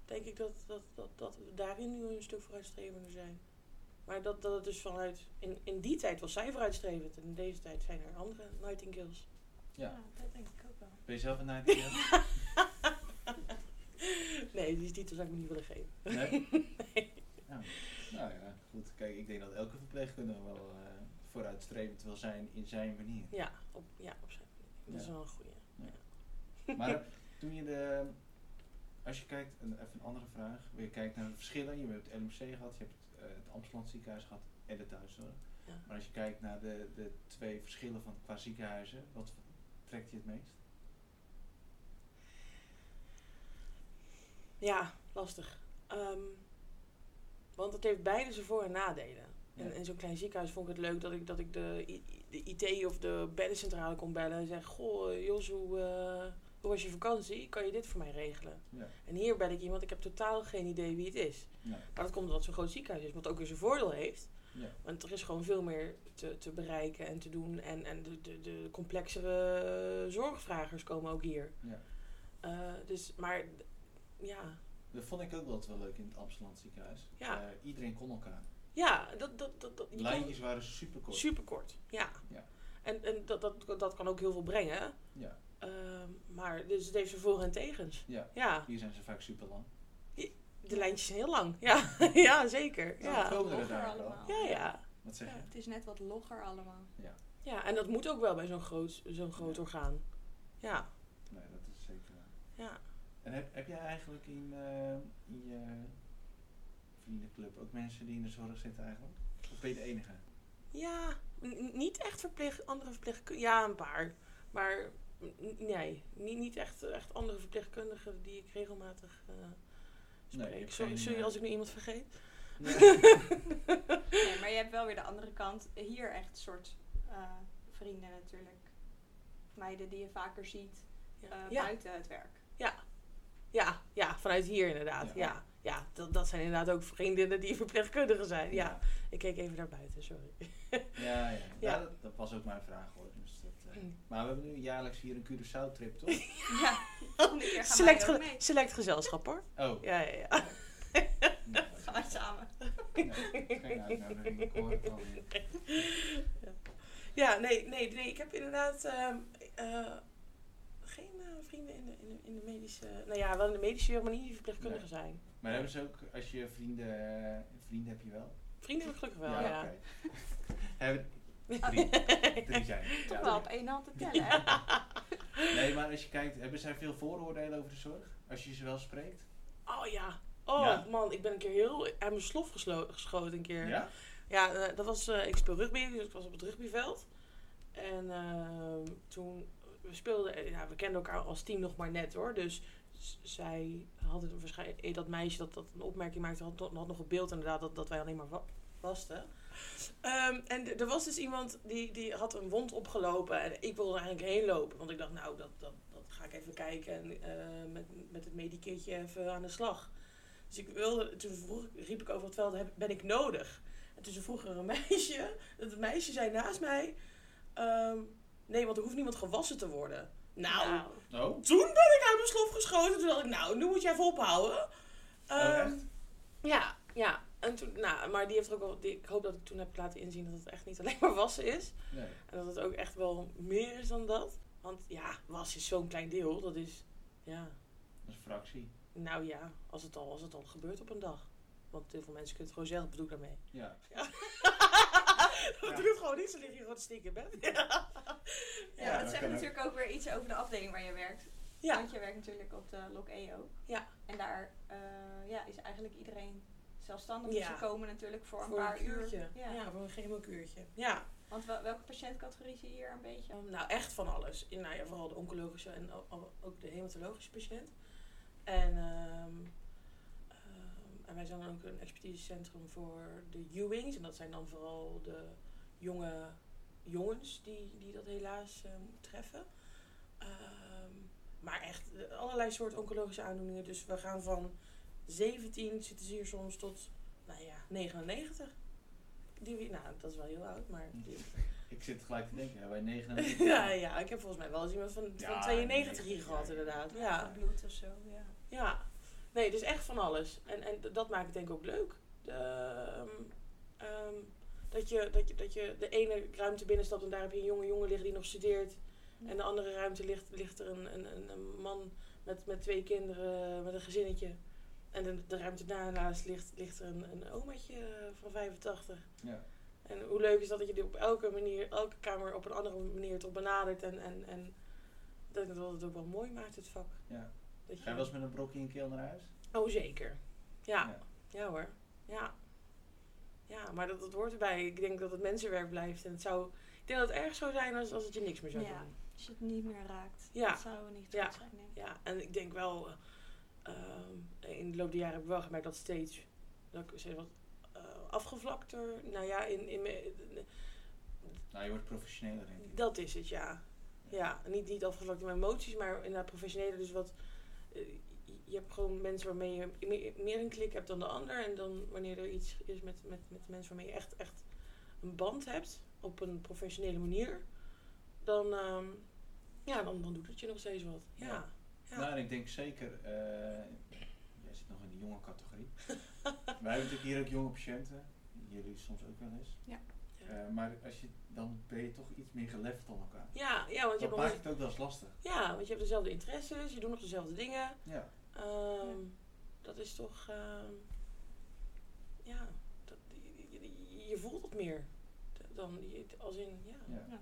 [SPEAKER 2] denk ik dat, dat, dat, dat we daarin nu een stuk vooruitstrevender zijn. Maar dat, dat het dus vanuit, in, in die tijd was zij vooruitstrevend en in deze tijd zijn er andere nightingales.
[SPEAKER 1] Ja.
[SPEAKER 3] dat denk ik ook wel.
[SPEAKER 1] Ben je zelf een nightingale?
[SPEAKER 2] Nee, die titel zou ik me niet willen geven.
[SPEAKER 1] Nee? Nou, nou ja, goed. Kijk, ik denk dat elke verpleegkundige wel eh, vooruitstrevend wil zijn in zijn manier.
[SPEAKER 2] Ja, op, ja, op zijn manier. Dat is
[SPEAKER 1] Ja.
[SPEAKER 2] wel een goede.
[SPEAKER 1] Maar toen je de. Als je kijkt, een, even een andere vraag. Je kijkt naar de verschillen. Je hebt het LMC gehad, je hebt het, eh, het Amsterdam ziekenhuis gehad en de thuiszorg.
[SPEAKER 2] Ja.
[SPEAKER 1] Maar als je kijkt naar de, de twee verschillen van qua ziekenhuizen, wat trekt je het meest?
[SPEAKER 2] Ja, lastig. Ehm, want het heeft beide zijn voor- en nadelen.
[SPEAKER 1] Ja.
[SPEAKER 2] En in zo'n klein ziekenhuis vond ik het leuk dat ik, dat ik de, I- de IT of de beddencentrale kon bellen en zeggen: Goh, eh, Jos, hoe, eh, hoe was je vakantie? Kan je dit voor mij regelen?
[SPEAKER 1] Ja.
[SPEAKER 2] En hier bel ik iemand, ik heb totaal geen idee wie het is.
[SPEAKER 1] Nee.
[SPEAKER 2] Maar dat komt omdat het zo'n groot ziekenhuis is, wat ook weer zijn voordeel heeft.
[SPEAKER 1] Ja.
[SPEAKER 2] Want er is gewoon veel meer te, te bereiken en te doen. En, en de, de, de complexere zorgvragers komen ook hier.
[SPEAKER 1] Ja.
[SPEAKER 2] Eh, dus, maar ja,
[SPEAKER 1] Dat vond ik ook wel wel leuk in het Amsterdam ziekenhuis.
[SPEAKER 2] Ja.
[SPEAKER 1] Eh, iedereen kon elkaar.
[SPEAKER 2] Ja, dat, dat, dat, dat, je
[SPEAKER 1] Lijntjes waren super
[SPEAKER 2] kon,
[SPEAKER 1] kort.
[SPEAKER 2] superkort. Ja.
[SPEAKER 1] Ja.
[SPEAKER 2] En, en dat, dat, dat kan ook heel veel brengen.
[SPEAKER 1] Ja.
[SPEAKER 2] Ehm, maar dus het heeft zijn voor- en tegens.
[SPEAKER 1] Ja.
[SPEAKER 2] Ja,
[SPEAKER 1] Hier zijn ze vaak super lang.
[SPEAKER 2] de lijntjes zijn heel lang. Ja, ja zeker.
[SPEAKER 1] Nou,
[SPEAKER 2] Ja.
[SPEAKER 1] komen er
[SPEAKER 3] Logger
[SPEAKER 1] daar wel.
[SPEAKER 3] allemaal.
[SPEAKER 2] Ja, ja.
[SPEAKER 1] Wat zeg je?
[SPEAKER 3] Het is net wat logger allemaal.
[SPEAKER 2] ja, en dat moet ook wel bij zo'n groot, zo'n groot
[SPEAKER 1] Ja.
[SPEAKER 2] orgaan. Ja,
[SPEAKER 1] Nee, dat is zeker waar.
[SPEAKER 2] ja.
[SPEAKER 1] En heb, heb jij eigenlijk in, eh, in je vriendenclub ook mensen die in de zorg zitten eigenlijk? Of ben je de enige?
[SPEAKER 2] Ja, n- niet echt verpleeg, andere verpleegkundigen. Ja, een paar. Maar n- nee, niet, niet echt, echt andere verpleegkundigen die ik regelmatig eh
[SPEAKER 1] je
[SPEAKER 2] spreek.
[SPEAKER 1] hebt
[SPEAKER 2] sorry,
[SPEAKER 1] geen,
[SPEAKER 2] sorry
[SPEAKER 1] eh,
[SPEAKER 2] als ik nu iemand vergeet.
[SPEAKER 3] Nee, maar je hebt wel weer de andere kant. Hier echt soort eh, vrienden natuurlijk. Meiden die je vaker ziet eh,
[SPEAKER 2] ja.
[SPEAKER 3] buiten het werk.
[SPEAKER 2] Ja, ja, vanuit hier
[SPEAKER 1] Ja.
[SPEAKER 2] inderdaad. Ja, ja. dat, dat zijn inderdaad ook vriendinnen die verpleegkundigen zijn. Ja, ik keek even naar buiten, sorry.
[SPEAKER 1] Ja, ja. ja. Nou,
[SPEAKER 2] Ja.
[SPEAKER 1] dat, dat was ook mijn vraag hoor. Dus dat, eh,
[SPEAKER 2] Mm.
[SPEAKER 1] Maar we hebben nu jaarlijks hier een Curaçao trip toch?
[SPEAKER 3] Ja, volgende keer
[SPEAKER 2] Oh,
[SPEAKER 3] gaan
[SPEAKER 2] Select,
[SPEAKER 3] wij ook
[SPEAKER 2] ge-
[SPEAKER 3] mee.
[SPEAKER 2] select gezelschap hoor.
[SPEAKER 1] Oh,
[SPEAKER 2] Ja, ja, ja.
[SPEAKER 1] nou, dat is-
[SPEAKER 3] Gaan wij samen.
[SPEAKER 1] nou, geen uitnodiging, ik hoor het alweer.
[SPEAKER 2] Ja, nee, nee, nee. Ik heb inderdaad ehm, eh, geen eh, vrienden in de, in, de, in de medische... Nou ja, wel in de medische wereld, maar niet die verpleegkundigen zijn.
[SPEAKER 1] Maar hebben ze ook, als je vrienden, eh, vrienden heb je wel?
[SPEAKER 2] Vrienden heb ik gelukkig wel, ja.
[SPEAKER 1] oké. Hebben- drie, drie zijn. het.
[SPEAKER 3] Toch
[SPEAKER 1] Ja,
[SPEAKER 3] wel op één hand te tellen, hè?
[SPEAKER 1] Nee, maar als je kijkt, hebben zij veel vooroordelen over de zorg? Als je ze wel spreekt?
[SPEAKER 2] Oh ja. Oh
[SPEAKER 1] Ja.
[SPEAKER 2] man, ik ben een keer heel uit mijn slof geslo- geschoten een keer.
[SPEAKER 1] Ja?
[SPEAKER 2] Ja, eh, dat was, eh, ik speel rugby, dus ik was op het rugbyveld. En ehm, toen, we speelden, eh, ja, we kenden elkaar als team nog maar net hoor. Dus z- zij had het waarschijnlijk, eh, dat meisje dat, dat een opmerking maakte, had, had nog een beeld inderdaad dat, dat wij alleen maar wa- wasten. Ehm, en d- er was dus iemand die, die had een wond opgelopen en ik wilde er eigenlijk heen lopen. Want ik dacht, nou, dat, dat, dat ga ik even kijken en eh, met, met het medikitje even aan de slag. Dus ik wilde, toen vroeg, ik- riep ik over het veld, heb, ben ik nodig? En toen vroeg er een meisje, dat meisje zei naast mij, ehm, nee, want er hoeft niemand gewassen te worden. Nou,
[SPEAKER 1] Oh?
[SPEAKER 2] toen ben ik uit mijn slof geschoten. Toen dacht ik, nou, nu moet je even ophouden.
[SPEAKER 1] Oh,
[SPEAKER 2] Ehm,
[SPEAKER 1] echt?
[SPEAKER 2] ja, ja. En toen, nou, maar die heeft er ook wel, die, ik hoop dat ik toen heb laten inzien dat het echt niet alleen maar wassen is.
[SPEAKER 1] Nee.
[SPEAKER 2] En dat het ook echt wel meer is dan dat. Want ja, was is zo'n klein deel. Dat is, ja,
[SPEAKER 1] Dat is een fractie.
[SPEAKER 2] nou ja, als het al, als het al gebeurt op een dag. Want heel veel mensen kunnen het gewoon zelf, bedoel ik daarmee.
[SPEAKER 1] Ja.
[SPEAKER 2] Dat doe ik gewoon niet, ze liggen hier gewoon te stinken in bed. Ja.
[SPEAKER 3] Ja,
[SPEAKER 1] Ja,
[SPEAKER 3] dat
[SPEAKER 1] dat
[SPEAKER 3] zegt
[SPEAKER 1] kan
[SPEAKER 3] natuurlijk ook weer iets over de afdeling waar je werkt.
[SPEAKER 2] ja.
[SPEAKER 3] Want je werkt natuurlijk op de Lok E ook.
[SPEAKER 2] Ja.
[SPEAKER 3] En daar eh, ja, is eigenlijk iedereen zelfstandig.
[SPEAKER 2] Ja.
[SPEAKER 3] Dus ze komen natuurlijk voor een
[SPEAKER 2] Voor
[SPEAKER 3] paar
[SPEAKER 2] een kuurtje.
[SPEAKER 3] uur.
[SPEAKER 2] Ja.
[SPEAKER 3] Ja.
[SPEAKER 2] voor een chemokuurtje. Ja.
[SPEAKER 3] Want wel- welke patiëntcategorie zie je hier een beetje?
[SPEAKER 2] Um, nou, echt van alles. In, nou ja, vooral de oncologische en o- o- ook de hematologische patiënt. En ehm, en wij zijn dan ook een expertisecentrum voor de Ewings. En dat zijn dan vooral de jonge jongens die, die dat helaas eh, treffen. Ehm, maar echt eh, allerlei soorten oncologische aandoeningen. Dus we gaan van 17 zitten ze hier soms tot, nou ja, 99. Die, we- nou, dat is wel heel oud, maar... die-
[SPEAKER 1] Ik zit gelijk te denken, hebben wij 99?
[SPEAKER 2] ja, ja, ik heb volgens mij wel eens iemand van, van
[SPEAKER 1] Ja,
[SPEAKER 2] 92 hier
[SPEAKER 1] nee,
[SPEAKER 2] gehad,
[SPEAKER 1] ja.
[SPEAKER 2] inderdaad. Ja.
[SPEAKER 3] Bloed of zo, ja.
[SPEAKER 2] ja, nee, dus echt van alles. En, en d- dat maakt het denk ik ook leuk. De, ehm, ehm, dat, je, dat, je, dat je de ene ruimte binnenstapt en daar heb je een jonge jongen liggen die nog studeert. En de andere ruimte ligt, ligt er een, een, een, een man met, met twee kinderen, met een gezinnetje. En de, de ruimte daarnaast ligt, ligt er een, een omaatje van 85.
[SPEAKER 1] Ja.
[SPEAKER 2] En hoe leuk is dat dat je die op elke manier, elke kamer op een andere manier toch benadert. En, en, en dat dat het ook wel mooi maakt, het vak.
[SPEAKER 1] Ja.
[SPEAKER 2] Dat
[SPEAKER 1] Ga je wel eens met een brokje in keel naar huis?
[SPEAKER 2] Oh, zeker. Ja.
[SPEAKER 1] Ja.
[SPEAKER 2] ja. hoor. Ja. Ja, maar dat, dat hoort erbij. Ik denk dat het mensenwerk blijft. En het zou... Ik denk dat het erg zou zijn als, als het je niks meer zou
[SPEAKER 3] Ja.
[SPEAKER 2] doen.
[SPEAKER 3] Als je het niet meer raakt.
[SPEAKER 2] Ja.
[SPEAKER 3] Dat zou niet goed
[SPEAKER 2] Ja.
[SPEAKER 3] zijn, denk ik.
[SPEAKER 2] Ja, en ik denk wel... eh, ehm, in de loop der jaren heb ik wel gemerkt dat steeds... Dat ik steeds wat eh, afgevlakter... Nou ja, in, in, me-
[SPEAKER 1] Nou, je wordt professioneler denk ik.
[SPEAKER 2] dat is het, ja. Ja, niet, niet afgevlakt in mijn emoties, maar inderdaad professioneler. Dus wat... eh, je hebt gewoon mensen waarmee je me- meer een klik hebt dan de ander. En dan wanneer er iets is met, met, met mensen waarmee je echt, echt een band hebt op een professionele manier, dan, ehm, ja, dan, dan doet het je nog steeds wat. Ja.
[SPEAKER 1] Ja.
[SPEAKER 2] ja.
[SPEAKER 1] Nou, en ik denk zeker, eh, jij zit nog in de jonge categorie. Wij hebben natuurlijk hier ook jonge patiënten, jullie soms ook wel eens.
[SPEAKER 3] Ja.
[SPEAKER 2] Ja.
[SPEAKER 1] Eh, maar als je, dan ben je toch iets meer geleverd dan elkaar.
[SPEAKER 2] Ja, want je
[SPEAKER 1] Dat
[SPEAKER 2] hebt nog
[SPEAKER 1] maakt
[SPEAKER 2] eens-
[SPEAKER 1] het ook wel eens lastig.
[SPEAKER 2] ja, want je hebt dezelfde interesses, je doet nog dezelfde dingen.
[SPEAKER 1] Ja.
[SPEAKER 2] Ehm, Dat is toch. ehm, ja, dat, je, je- je voelt het meer. d- Dan, je- als in, ja.
[SPEAKER 1] ja.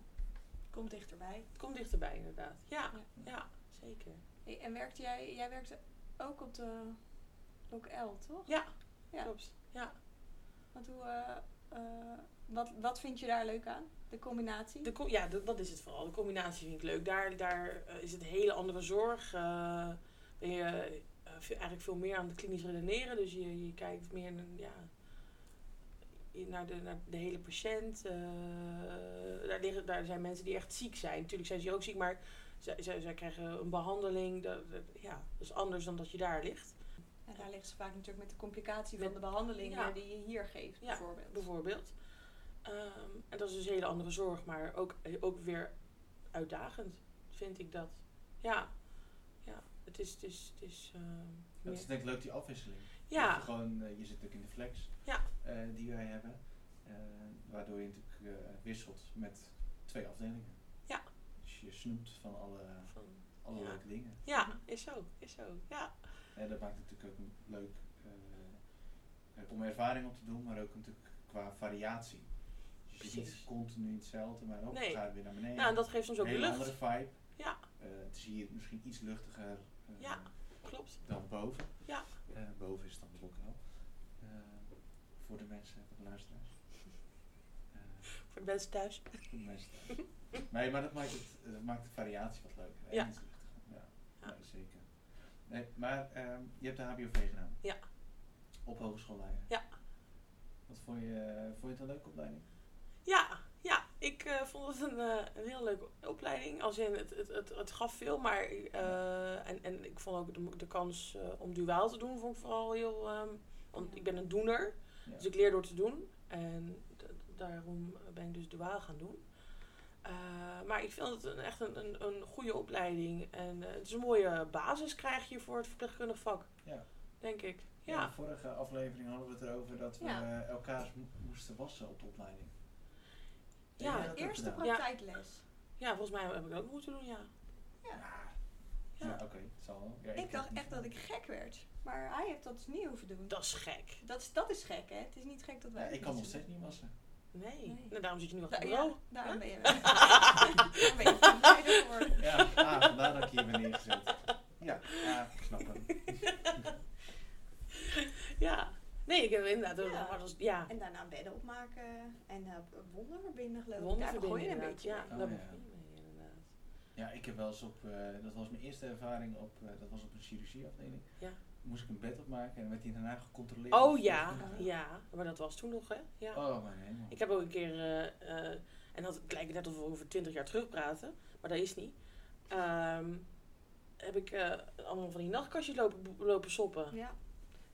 [SPEAKER 3] Komt dichterbij.
[SPEAKER 2] Het komt dichterbij, inderdaad. Ja, ja, zeker.
[SPEAKER 3] Hey, en werkte jij, jij werkte ook op de L, toch? Ja.
[SPEAKER 2] Klopt. Ja.
[SPEAKER 3] Want hoe, eh, eh, wat, wat vind je daar leuk aan? De combinatie?
[SPEAKER 2] De, co- ja, dat, dat is het vooral. De combinatie vind ik leuk. Daar, daar eh, is het hele andere zorg. eh, ben je eh, veel- eigenlijk veel meer aan het klinisch redeneren. Dus je, je kijkt meer naar, ja, je- naar, de, naar de hele patiënt. eh, daar, liggen, daar zijn mensen die echt ziek zijn. Natuurlijk zijn ze hier ook ziek, maar zij, zij, zij krijgen een behandeling. Dat, dat- ja, dat is anders dan dat je daar ligt,
[SPEAKER 3] En daar ligt ze vaak natuurlijk met de complicatie van
[SPEAKER 2] Met-
[SPEAKER 3] de behandeling
[SPEAKER 2] ja.
[SPEAKER 3] die je hier geeft,
[SPEAKER 2] Ja,
[SPEAKER 3] bijvoorbeeld.
[SPEAKER 2] bijvoorbeeld. Ehm, en dat is dus een hele andere zorg, maar ook, ook weer uitdagend, vind ik dat. Ja, ja het is... Het is, het is ehm,
[SPEAKER 1] Dat
[SPEAKER 2] meer-
[SPEAKER 1] is denk ik leuk, die afwisseling. Dat
[SPEAKER 2] ja,
[SPEAKER 1] je, gewoon, eh, je zit ook in de flex
[SPEAKER 2] Ja.
[SPEAKER 1] eh, die wij hebben. eh, waardoor je natuurlijk eh, wisselt met twee afdelingen.
[SPEAKER 2] Ja.
[SPEAKER 1] Dus je snoept van alle,
[SPEAKER 2] van-
[SPEAKER 1] alle
[SPEAKER 2] Ja.
[SPEAKER 1] leuke dingen.
[SPEAKER 2] ja, is zo, is zo, ja.
[SPEAKER 1] En dat maakt het natuurlijk ook een leuk eh, om ervaring op te doen, maar ook natuurlijk qua variatie. Dus je ziet
[SPEAKER 2] Precies. continu
[SPEAKER 1] continu hetzelfde, maar ook
[SPEAKER 2] Nee.
[SPEAKER 1] gaat het weer naar beneden.
[SPEAKER 2] Nou, en dat geeft soms ook
[SPEAKER 1] een hele
[SPEAKER 2] lucht.
[SPEAKER 1] andere vibe.
[SPEAKER 2] Ja.
[SPEAKER 1] Eh, het is hier misschien iets luchtiger eh,
[SPEAKER 2] Ja. Klopt.
[SPEAKER 1] dan boven.
[SPEAKER 2] Ja.
[SPEAKER 1] Eh, boven is dan de lokaal. Eh, voor de mensen, voor de luisteraars. Eh,
[SPEAKER 2] Voor de mensen thuis.
[SPEAKER 1] voor de mensen thuis. nee, maar dat maakt, het, eh, dat maakt de variatie wat leuker. en
[SPEAKER 2] Ja.
[SPEAKER 1] iets luchtiger. Ja.
[SPEAKER 2] Ja.
[SPEAKER 1] Nee, zeker. Nee, maar ehm, je hebt de HBOV gedaan.
[SPEAKER 2] Ja.
[SPEAKER 1] Op hogeschool Leiden.
[SPEAKER 2] Ja.
[SPEAKER 1] Wat vond je, vond je het een leuke opleiding?
[SPEAKER 2] Ja, ja. Ik eh, vond het een, eh, een heel leuke opleiding. Als in, het, het, het, het gaf veel, maar... eh, en, en ik vond ook de, de kans eh, om duaal te doen, vond ik vooral heel... ehm, want ik ben een doener,
[SPEAKER 1] Ja.
[SPEAKER 2] dus ik leer door te doen. En d- daarom ben ik dus duaal gaan doen. Eh, maar ik vind het een, echt een, een, een goede opleiding. En eh, het is een mooie basis krijg je voor het verpleegkundig vak.
[SPEAKER 1] Ja.
[SPEAKER 2] Denk ik.
[SPEAKER 1] In
[SPEAKER 2] Ja.
[SPEAKER 1] de vorige aflevering hadden we het erover dat we
[SPEAKER 3] Ja.
[SPEAKER 1] eh, elkaar mo- moesten wassen op de opleiding. Heb
[SPEAKER 2] Ja,
[SPEAKER 1] jij dat ook
[SPEAKER 3] Eerste
[SPEAKER 1] gedaan?
[SPEAKER 2] Ja.
[SPEAKER 3] praktijkles.
[SPEAKER 2] ja, volgens mij heb ik dat ook moeten doen, ja.
[SPEAKER 1] Ja,
[SPEAKER 2] Ja.
[SPEAKER 1] oké, het zal wel. Ja,
[SPEAKER 3] Ik
[SPEAKER 1] heb
[SPEAKER 3] dacht
[SPEAKER 1] het
[SPEAKER 3] echt
[SPEAKER 1] niet
[SPEAKER 3] dat ik gek werd. Maar hij heeft dat dus niet hoeven doen.
[SPEAKER 2] Dat is gek.
[SPEAKER 3] Dat is, dat is gek, hè? Het is niet gek dat
[SPEAKER 1] gedaan.
[SPEAKER 3] wij.
[SPEAKER 1] Ja,
[SPEAKER 3] het
[SPEAKER 1] ik kan nog
[SPEAKER 3] niet
[SPEAKER 1] steeds niet wassen.
[SPEAKER 2] Nee.
[SPEAKER 3] Nee.
[SPEAKER 2] Nou, daarom zit je nu
[SPEAKER 3] doen.
[SPEAKER 2] achter
[SPEAKER 3] Da-
[SPEAKER 2] de
[SPEAKER 3] ja,
[SPEAKER 2] bureau.
[SPEAKER 3] daarom ben je Daar ben je verblijd voor.
[SPEAKER 1] Ja, ah, vandaar dat ik hier ben neergezet. Ja, ah, ik snap hem.
[SPEAKER 2] Ja. Nee, ik heb inderdaad...
[SPEAKER 3] Ja.
[SPEAKER 2] Ja. Maar dat is, ja.
[SPEAKER 3] En daarna bedden opmaken en eh wonden verbinden, geloof ik. Daar
[SPEAKER 2] Wonderverbinden
[SPEAKER 3] begon je een
[SPEAKER 2] inderdaad.
[SPEAKER 3] beetje.
[SPEAKER 2] Ja,
[SPEAKER 3] mee.
[SPEAKER 1] Oh,
[SPEAKER 2] daar
[SPEAKER 1] ja.
[SPEAKER 2] begon je mee inderdaad.
[SPEAKER 1] Ja, ik heb wel eens op, eh, dat was mijn eerste ervaring op, eh, dat was op een chirurgieafdeling.
[SPEAKER 2] Ja.
[SPEAKER 1] moest ik een bed opmaken en dan werd die daarna gecontroleerd.
[SPEAKER 2] Oh
[SPEAKER 1] of je
[SPEAKER 2] ja,
[SPEAKER 1] dat goed
[SPEAKER 2] ja. Maar dat was toen nog, hè? Ja.
[SPEAKER 1] gedaan. Oh mijn hemel.
[SPEAKER 2] Ik heb ook een keer, eh, eh, en dat het lijkt net alsof we over twintig jaar terug praten, maar dat is niet. Ehm, heb ik eh, allemaal van die nachtkastjes lopen, bo- lopen soppen.
[SPEAKER 4] Ja.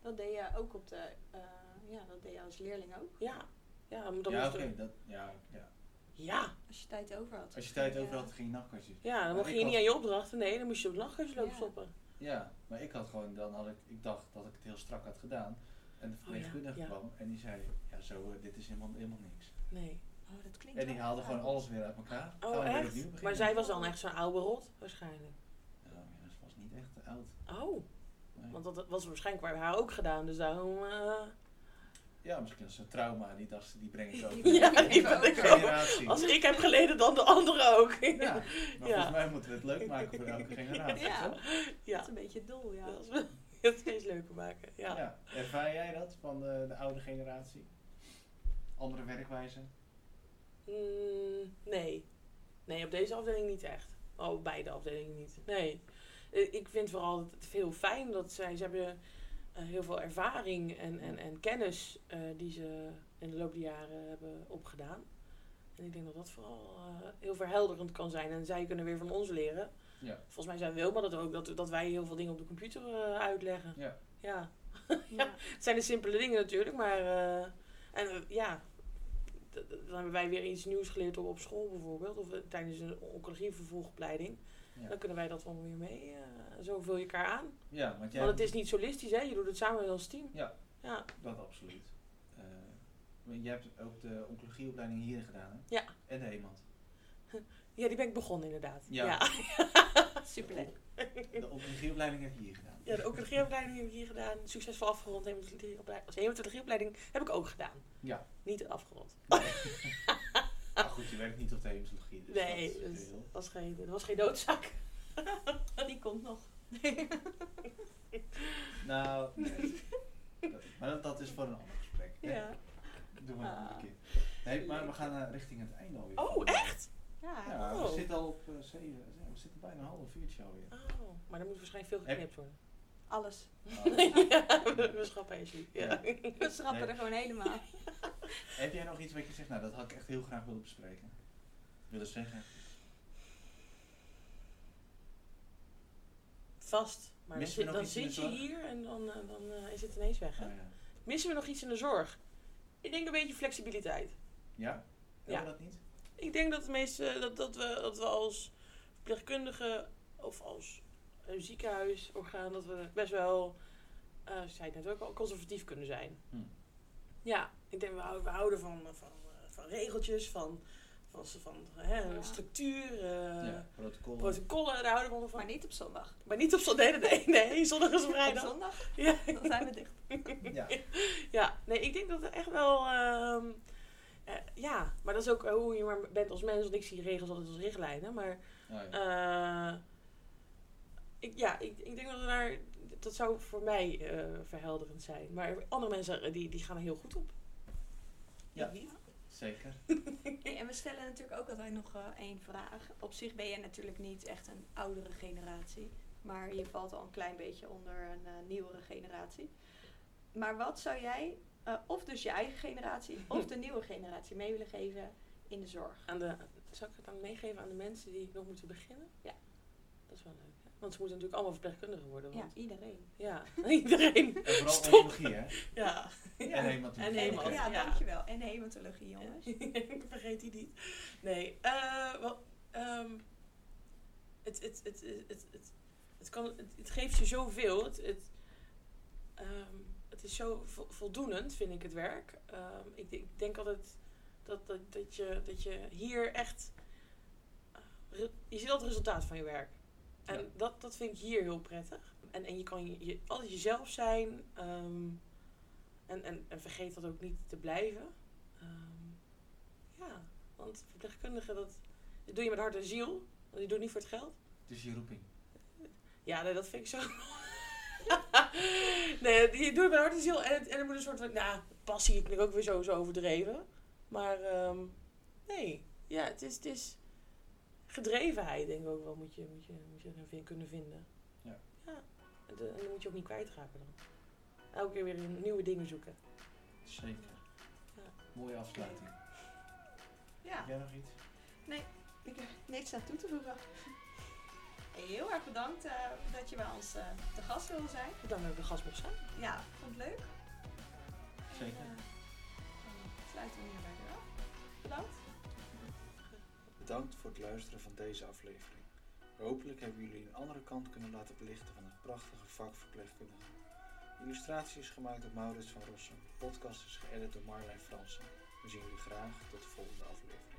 [SPEAKER 4] Dat deed je ook op de... eh, ja, dat deed je als leerling ook.
[SPEAKER 2] Ja, ja, maar dan
[SPEAKER 1] ja,
[SPEAKER 2] moest
[SPEAKER 1] oké,
[SPEAKER 2] er-
[SPEAKER 1] dat, ja, ja.
[SPEAKER 2] ja,
[SPEAKER 4] Als je tijd over had.
[SPEAKER 1] Als je tijd
[SPEAKER 4] Ja.
[SPEAKER 1] over had, ging je nachtkastjes.
[SPEAKER 2] ja, dan
[SPEAKER 1] Maar
[SPEAKER 2] mocht
[SPEAKER 1] ik
[SPEAKER 2] je niet
[SPEAKER 1] had-
[SPEAKER 2] aan je opdrachten. Nee, dan moest je op de nachtkastjes lopen
[SPEAKER 4] Ja.
[SPEAKER 2] soppen.
[SPEAKER 1] Ja, maar ik had gewoon, dan had ik, ik dacht dat ik het heel strak had gedaan. En de verpleegkundige
[SPEAKER 2] Oh, ja.
[SPEAKER 1] kwam en die zei, ja zo, eh, dit is helemaal, helemaal niks.
[SPEAKER 2] Nee.
[SPEAKER 4] Oh, dat klinkt
[SPEAKER 1] En die
[SPEAKER 4] wel
[SPEAKER 1] haalde
[SPEAKER 4] fijn.
[SPEAKER 1] gewoon alles weer uit elkaar. Gaan we
[SPEAKER 2] Oh,
[SPEAKER 1] weer opnieuw
[SPEAKER 2] echt?
[SPEAKER 1] beginnen.
[SPEAKER 2] Maar zij was dan echt zo'n oude rot, waarschijnlijk.
[SPEAKER 1] Ja, maar ze was niet echt oud.
[SPEAKER 2] Oh,
[SPEAKER 1] Nee.
[SPEAKER 2] want dat was waarschijnlijk bij haar ook gedaan, dus daarom... eh,
[SPEAKER 1] Ja, misschien was ze een trauma, die dacht ze, die breng ik over.
[SPEAKER 2] Ja,
[SPEAKER 4] Ja,
[SPEAKER 2] die wil ik ook.
[SPEAKER 1] generatie.
[SPEAKER 2] Als ik heb geleden, dan de anderen ook.
[SPEAKER 1] Ja, maar volgens mij moeten we het leuk maken voor elke generatie.
[SPEAKER 4] Ja,
[SPEAKER 1] toch?
[SPEAKER 4] dat
[SPEAKER 2] Ja,
[SPEAKER 4] is een beetje dol, ja.
[SPEAKER 2] dat is- dat steeds leuker maken.
[SPEAKER 1] Ja.
[SPEAKER 2] Ja.
[SPEAKER 1] Ervaar jij dat van de, de oude generatie? Andere werkwijze?
[SPEAKER 2] Mm, nee. Nee, op deze afdeling niet echt. Oh, op beide afdelingen niet. Nee. Eh, Ik vind vooral het heel fijn dat zij... Ze hebben eh, heel veel ervaring en, en, en kennis eh, die ze in de loop der jaren hebben opgedaan. En ik denk dat dat vooral eh, heel verhelderend kan zijn. En zij kunnen weer van ons leren.
[SPEAKER 1] Ja.
[SPEAKER 2] Volgens mij zijn Wilma dat ook, dat, dat wij heel veel dingen op de computer eh, uitleggen.
[SPEAKER 1] Ja.
[SPEAKER 2] Ja.
[SPEAKER 4] Ja.
[SPEAKER 2] Het zijn de simpele dingen natuurlijk, maar. eh, en eh, ja, d- d- dan hebben wij weer iets nieuws geleerd op, op school bijvoorbeeld, of eh, tijdens een oncologievervolgopleiding.
[SPEAKER 1] Ja.
[SPEAKER 2] Dan kunnen wij dat allemaal weer mee. eh, zo vul je elkaar aan.
[SPEAKER 1] Ja, want jij...
[SPEAKER 2] Want het is niet solistisch, hè? Je doet het samen als team.
[SPEAKER 1] Ja.
[SPEAKER 2] Ja,
[SPEAKER 1] Dat absoluut. Eh, maar jij hebt ook de oncologieopleiding hier gedaan, hè?
[SPEAKER 2] Ja.
[SPEAKER 1] En de Heemand.
[SPEAKER 2] ja die ben ik begonnen inderdaad.
[SPEAKER 1] Ja.
[SPEAKER 2] ja.
[SPEAKER 4] Superleuk.
[SPEAKER 1] De oncologieopleiding heb je hier gedaan.
[SPEAKER 2] Ja, de oncologieopleiding heb ik hier gedaan. Succesvol afgerond. Hematologieopleiding, als hematologieopleiding heb ik ook gedaan.
[SPEAKER 1] Ja.
[SPEAKER 2] Niet afgerond.
[SPEAKER 1] Maar goed, je werkt niet op de hematologie, dus
[SPEAKER 2] Nee,
[SPEAKER 1] dat is
[SPEAKER 2] dus
[SPEAKER 1] veel.
[SPEAKER 2] dat was geen, dat was geen doodzaak.
[SPEAKER 4] Die komt nog.
[SPEAKER 1] Nou, nee. Dat- maar dat, dat is voor een ander gesprek. hè?
[SPEAKER 2] Ja.
[SPEAKER 1] Doen we een andere
[SPEAKER 4] Ah.
[SPEAKER 1] keer. Nee, maar we gaan eh, richting het einde alweer.
[SPEAKER 2] Oh, echt?
[SPEAKER 4] Ja,
[SPEAKER 1] Ja,
[SPEAKER 2] Oh.
[SPEAKER 1] we zitten al op eh, zeven. ja, We zitten bijna een half uurtje alweer.
[SPEAKER 2] Oh, maar dan moet waarschijnlijk veel
[SPEAKER 1] Heb-
[SPEAKER 2] geknipt worden.
[SPEAKER 4] alles.
[SPEAKER 1] Ah.
[SPEAKER 2] ja, we we schrappen Ashley. Ja.
[SPEAKER 4] We schrappen
[SPEAKER 1] Nee.
[SPEAKER 4] er gewoon helemaal.
[SPEAKER 1] Heb jij nog iets wat je zegt, nou dat had ik echt heel graag willen bespreken? Willen zeggen?
[SPEAKER 2] Vast. Maar dan,
[SPEAKER 1] Missen we
[SPEAKER 2] zit-
[SPEAKER 1] nog
[SPEAKER 2] dan
[SPEAKER 1] iets in de
[SPEAKER 2] zit je
[SPEAKER 1] zorg?
[SPEAKER 2] hier en dan, eh, dan eh, is het ineens weg. Hè?
[SPEAKER 1] Nou ja.
[SPEAKER 2] Missen we nog iets in de zorg? Ik denk een beetje flexibiliteit.
[SPEAKER 1] Ja? Hebben
[SPEAKER 2] Ja.
[SPEAKER 1] we dat niet?
[SPEAKER 2] Ik denk dat, de meeste, dat, dat, we, dat we als verpleegkundige of als eh, ziekenhuisorgaan... dat we best wel, eh zei het net ook al, conservatief kunnen zijn.
[SPEAKER 1] Hm.
[SPEAKER 2] Ja, ik denk we houden, we houden van, eh, van, eh, van regeltjes, van, van, van hè,
[SPEAKER 4] Ja.
[SPEAKER 2] structuur... eh,
[SPEAKER 1] ja, protocol.
[SPEAKER 2] Protocollen, daar houden we allemaal van.
[SPEAKER 4] Maar niet op zondag.
[SPEAKER 2] Maar niet op zondag. Nee, nee, nee. nee, Zondag is
[SPEAKER 4] Op
[SPEAKER 2] vrijdag.
[SPEAKER 4] zondag,
[SPEAKER 2] Ja.
[SPEAKER 4] dan zijn we dicht.
[SPEAKER 1] ja.
[SPEAKER 2] ja, nee, ik denk dat er echt wel. ehm, eh, ja, maar dat is ook hoe je maar bent als mens. Want ik zie regels altijd als richtlijnen. Maar
[SPEAKER 1] Nou ja.
[SPEAKER 2] eh, ik, ja, ik, ik denk dat we daar. Dat zou voor mij eh, verhelderend zijn. Maar andere mensen eh, die, die gaan er heel goed op.
[SPEAKER 1] Ja.
[SPEAKER 2] Ik niet.
[SPEAKER 1] Zeker.
[SPEAKER 4] Hey, en we stellen natuurlijk ook altijd nog eh, één vraag. Op zich ben je natuurlijk niet echt een oudere generatie. Maar je valt al een klein beetje onder een eh, nieuwere generatie. Maar wat zou jij, eh, of dus je eigen generatie, of de nieuwe generatie mee willen geven in de zorg?
[SPEAKER 2] Aan de, zou ik het dan meegeven aan de mensen die nog moeten beginnen?
[SPEAKER 4] Ja.
[SPEAKER 2] Dat is wel leuk. hè? Want ze moeten natuurlijk allemaal verpleegkundigen worden.
[SPEAKER 4] Ja,
[SPEAKER 2] Want,
[SPEAKER 4] iedereen.
[SPEAKER 2] ja.
[SPEAKER 1] En
[SPEAKER 2] iedereen.
[SPEAKER 1] vooral
[SPEAKER 2] Stop.
[SPEAKER 1] oncologie, hè?
[SPEAKER 2] Ja.
[SPEAKER 1] En hematologie.
[SPEAKER 2] En
[SPEAKER 4] En-
[SPEAKER 2] hematologie.
[SPEAKER 4] ja,
[SPEAKER 2] ja.
[SPEAKER 4] dankjewel. En hematologie, jongens.
[SPEAKER 2] Ik Vergeet die niet. Nee, eh, wel, ehm, het, het, het, het, het, het, het kan, het, het geeft je zoveel. Het, het, ehm, het is zo vo- voldoenend, vind ik, het werk. Ehm, ik, denk- ik denk altijd dat, dat, dat, je, dat je hier echt... eh, re- je ziet al het resultaat van je werk. En
[SPEAKER 1] Ja.
[SPEAKER 2] dat, dat vind ik hier heel prettig. En, en je kan je, je- altijd jezelf zijn. ehm, en, en, en vergeet dat ook niet te blijven. Ehm, ja, want verpleegkundigen, dat, dat doe je met hart en ziel. Want je doet het niet voor het geld.
[SPEAKER 1] Dus je roeping.
[SPEAKER 2] Ja, nee, dat vind ik zo. nee, die doe je met hart en ziel. En, het- en er moet een soort van. Nou, passie, ik ben ook weer zo, zo overdreven. Maar ehm, nee, ja, het is, het is gedrevenheid, denk ik ook wel, moet je, moet je, moet je erin vin- kunnen vinden. de- en dan moet je ook niet kwijtraken dan. Elke keer weer nieuwe dingen zoeken.
[SPEAKER 5] Zeker.
[SPEAKER 2] Ja.
[SPEAKER 5] Mooie afsluiting.
[SPEAKER 3] Ja,
[SPEAKER 5] Heb jij nog iets?
[SPEAKER 3] ik heb niks aan toe te voegen. Heel erg bedankt eh, dat je bij ons eh, te gast wilde zijn.
[SPEAKER 2] Dan hebben we de gastbox zijn.
[SPEAKER 3] Ja, vond het leuk.
[SPEAKER 5] Zeker.
[SPEAKER 3] En, eh, dan sluiten we hierbij weer af. Bedankt.
[SPEAKER 1] Bedankt voor het luisteren van deze aflevering. Hopelijk hebben jullie een andere kant kunnen laten belichten van het prachtige vak verpleegkundige. De illustratie is gemaakt door Maurits van Rossum. De podcast is geëdit door Marlijn Fransen. We zien jullie graag tot de volgende aflevering.